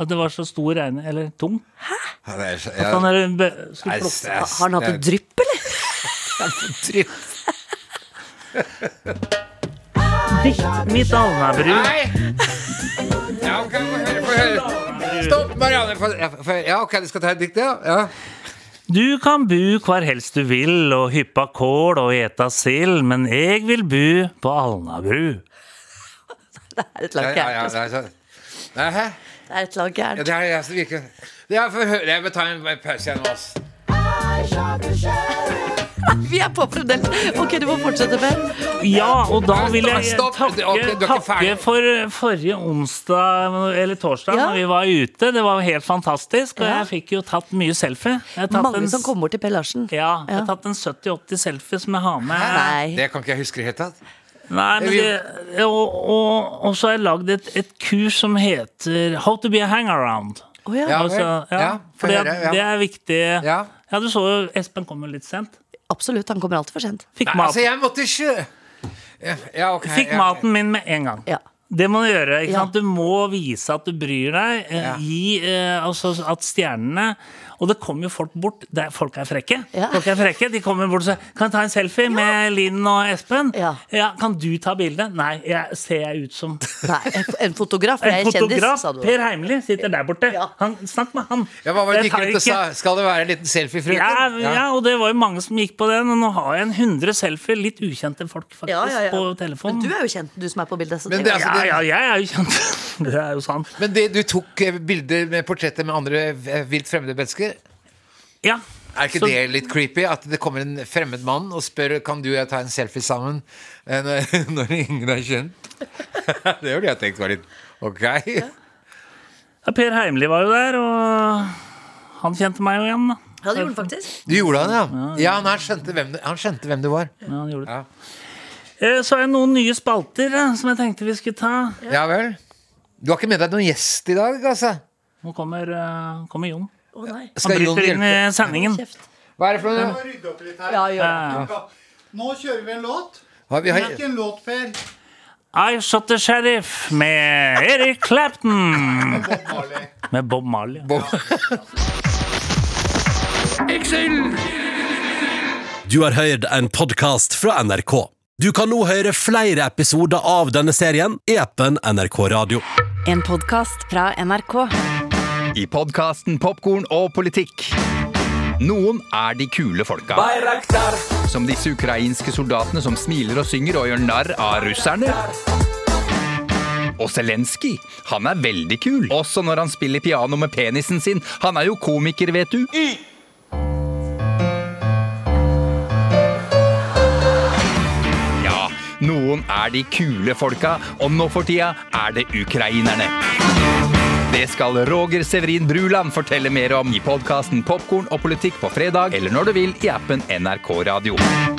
[SPEAKER 6] At det var så stor regning Eller tung.
[SPEAKER 1] Ja, det er så-
[SPEAKER 6] At
[SPEAKER 1] ja.
[SPEAKER 6] han er, be- skulle
[SPEAKER 1] Nei,
[SPEAKER 6] plukke
[SPEAKER 1] det er-
[SPEAKER 2] Har han hatt
[SPEAKER 1] det er-
[SPEAKER 2] et drypp, eller?
[SPEAKER 1] Drypp.
[SPEAKER 6] Dikt mitt Alnabru.
[SPEAKER 1] Nei! Ja, ok, få høre, få høre. Stopp, Marianne. Få, ja, få høre. ja, ok, du skal ta et dikt, ja? ja.
[SPEAKER 6] Du kan bu hvar helst du vil, og hyppa kål og eta sild, men eg vil bu på Alnabru.
[SPEAKER 2] Det er et
[SPEAKER 1] Ja,
[SPEAKER 2] lag
[SPEAKER 1] ja, ja,
[SPEAKER 2] gærent. altså.
[SPEAKER 1] det er sånn. Nei, hæ?
[SPEAKER 2] Det er et lag
[SPEAKER 1] Ja,
[SPEAKER 2] gærent.
[SPEAKER 1] det er, ja, så virker ja, få høre. Jeg må ta en pause igjen nå, ass.
[SPEAKER 2] Vi er på fremdeles. Ok, du må fortsette, Per.
[SPEAKER 6] Ja, og da vil jeg
[SPEAKER 1] Stopp, stopp.
[SPEAKER 6] takke,
[SPEAKER 1] Ok, du er ikke ferdig.
[SPEAKER 6] takke for forrige onsdag eller torsdag
[SPEAKER 2] Ja.
[SPEAKER 6] når vi var ute. Det var jo helt fantastisk, og
[SPEAKER 2] Ja.
[SPEAKER 6] jeg fikk jo tatt mye selfie. Jeg har tatt
[SPEAKER 2] Mange
[SPEAKER 6] en,
[SPEAKER 2] som kommer bort til Per Larsen.
[SPEAKER 6] Ja, jeg
[SPEAKER 2] Ja.
[SPEAKER 6] har tatt en 70-80 selfie som jeg har med.
[SPEAKER 2] Nei.
[SPEAKER 1] Det kan ikke jeg huske i det hele tatt.
[SPEAKER 6] Nei, men det, og, og, og så har jeg lagd et, et kurs som heter How to be a hangaround.
[SPEAKER 2] Å ja.
[SPEAKER 1] Ja.
[SPEAKER 6] Altså, ja,
[SPEAKER 1] Ja, får
[SPEAKER 6] fordi
[SPEAKER 1] høre,
[SPEAKER 6] at
[SPEAKER 1] ja.
[SPEAKER 6] det er viktig.
[SPEAKER 1] Ja.
[SPEAKER 6] Ja, du så jo Espen kom jo litt sent.
[SPEAKER 2] Absolutt. Han kommer alltid for sent.
[SPEAKER 6] Fikk,
[SPEAKER 1] Nei,
[SPEAKER 6] mat,
[SPEAKER 1] altså, jeg måtte ikke Ja, ja, ok.
[SPEAKER 6] fikk
[SPEAKER 1] ja.
[SPEAKER 6] maten min med en gang.
[SPEAKER 2] Ja.
[SPEAKER 6] Det må du gjøre. ikke
[SPEAKER 2] Ja.
[SPEAKER 6] sant? Du må vise at du bryr deg. eh,
[SPEAKER 1] Ja.
[SPEAKER 6] Gi eh, altså at stjernene Og det kommer jo folk bort. Det er, folk er frekke.
[SPEAKER 2] Ja.
[SPEAKER 6] Folk er frekke, De kommer bort og sier 'Kan jeg ta en selfie med Linn og Espen?'
[SPEAKER 2] Ja.
[SPEAKER 6] kan du ta bilde?' Nei, jeg ser jeg ut som
[SPEAKER 2] Nei, en- en fotograf.
[SPEAKER 6] en
[SPEAKER 2] Jeg er kjendis,
[SPEAKER 6] fotograf.
[SPEAKER 2] sa du.
[SPEAKER 6] Per Heimli sitter der borte.
[SPEAKER 2] Ja.
[SPEAKER 6] Han, snakk med han.
[SPEAKER 1] Ja, hva var det
[SPEAKER 6] Jeg tar
[SPEAKER 1] Mikael
[SPEAKER 6] ikke-
[SPEAKER 1] sa? Skal det være en liten selfie, frøken?
[SPEAKER 6] ja, ja, og det var jo mange som gikk på den. Og nå har jeg en 100 selfier, litt ukjente folk faktisk,
[SPEAKER 2] Ja, ja, ja.
[SPEAKER 6] på telefonen.
[SPEAKER 2] Men du er jo kjent, du som er på bildet. Så
[SPEAKER 1] Men
[SPEAKER 2] det-
[SPEAKER 1] det er altså-
[SPEAKER 6] Ja, ja, jeg er jo kjent. Det er jo sant.
[SPEAKER 1] Men det, du tok eh, bilder med portretter med andre eh, vilt fremmede mennesker?
[SPEAKER 6] Ja.
[SPEAKER 1] Er ikke
[SPEAKER 6] Så-
[SPEAKER 1] det litt creepy? At det kommer en fremmed mann og spør Kan du og jeg ta en selfie sammen eh, når, når ingen er kjent? det ville jeg tenkt var litt ok.
[SPEAKER 6] Ja, per Heimli var jo der, og han kjente meg jo igjen. da.
[SPEAKER 2] Ja, det gjorde han faktisk.
[SPEAKER 1] Du gjorde han, ja? Ja, han, her skjønte hvem du, han skjønte hvem du var.
[SPEAKER 6] Ja, han gjorde det.
[SPEAKER 1] Ja.
[SPEAKER 6] Eh, Så er det noen nye spalter eh, som jeg tenkte vi skulle ta.
[SPEAKER 1] Ja vel. Du har ikke med deg noen gjest i dag, altså?
[SPEAKER 6] Nå kommer, eh, kommer Jon.
[SPEAKER 2] Å nei.
[SPEAKER 6] Han
[SPEAKER 1] Skal Jon
[SPEAKER 6] bryter inn i
[SPEAKER 1] hjelpe?
[SPEAKER 6] sendingen.
[SPEAKER 2] Kjeft.
[SPEAKER 1] Hva er det for noe?
[SPEAKER 7] må rydde opp litt her.
[SPEAKER 2] Ja, gjør det.
[SPEAKER 6] Eh,
[SPEAKER 7] Nå kjører vi en låt.
[SPEAKER 1] Har vi,
[SPEAKER 7] Det
[SPEAKER 1] har,
[SPEAKER 7] er ikke en låt, Per.
[SPEAKER 6] I Shot the Sheriff med Erik Clapton.
[SPEAKER 7] Bob Marley.
[SPEAKER 6] Med Bob Marley.
[SPEAKER 3] Excel.
[SPEAKER 8] Du har hørt en podkast fra NRK. Du kan nå høre flere episoder av denne serien i appen NRK Radio.
[SPEAKER 9] En podkast fra NRK.
[SPEAKER 10] I podkasten Popkorn og politikk. Noen er de kule folka. Som disse ukrainske soldatene som smiler og synger og gjør narr av russerne. Og Zelenskyj, han er veldig kul. Også når han spiller piano med penisen sin. Han er jo komiker, vet du. Ja, noen er de kule folka, og nå for tida er det ukrainerne. Det skal Roger Severin Bruland fortelle mer om i podkasten Popkorn og politikk på fredag, eller når du vil i appen NRK Radio.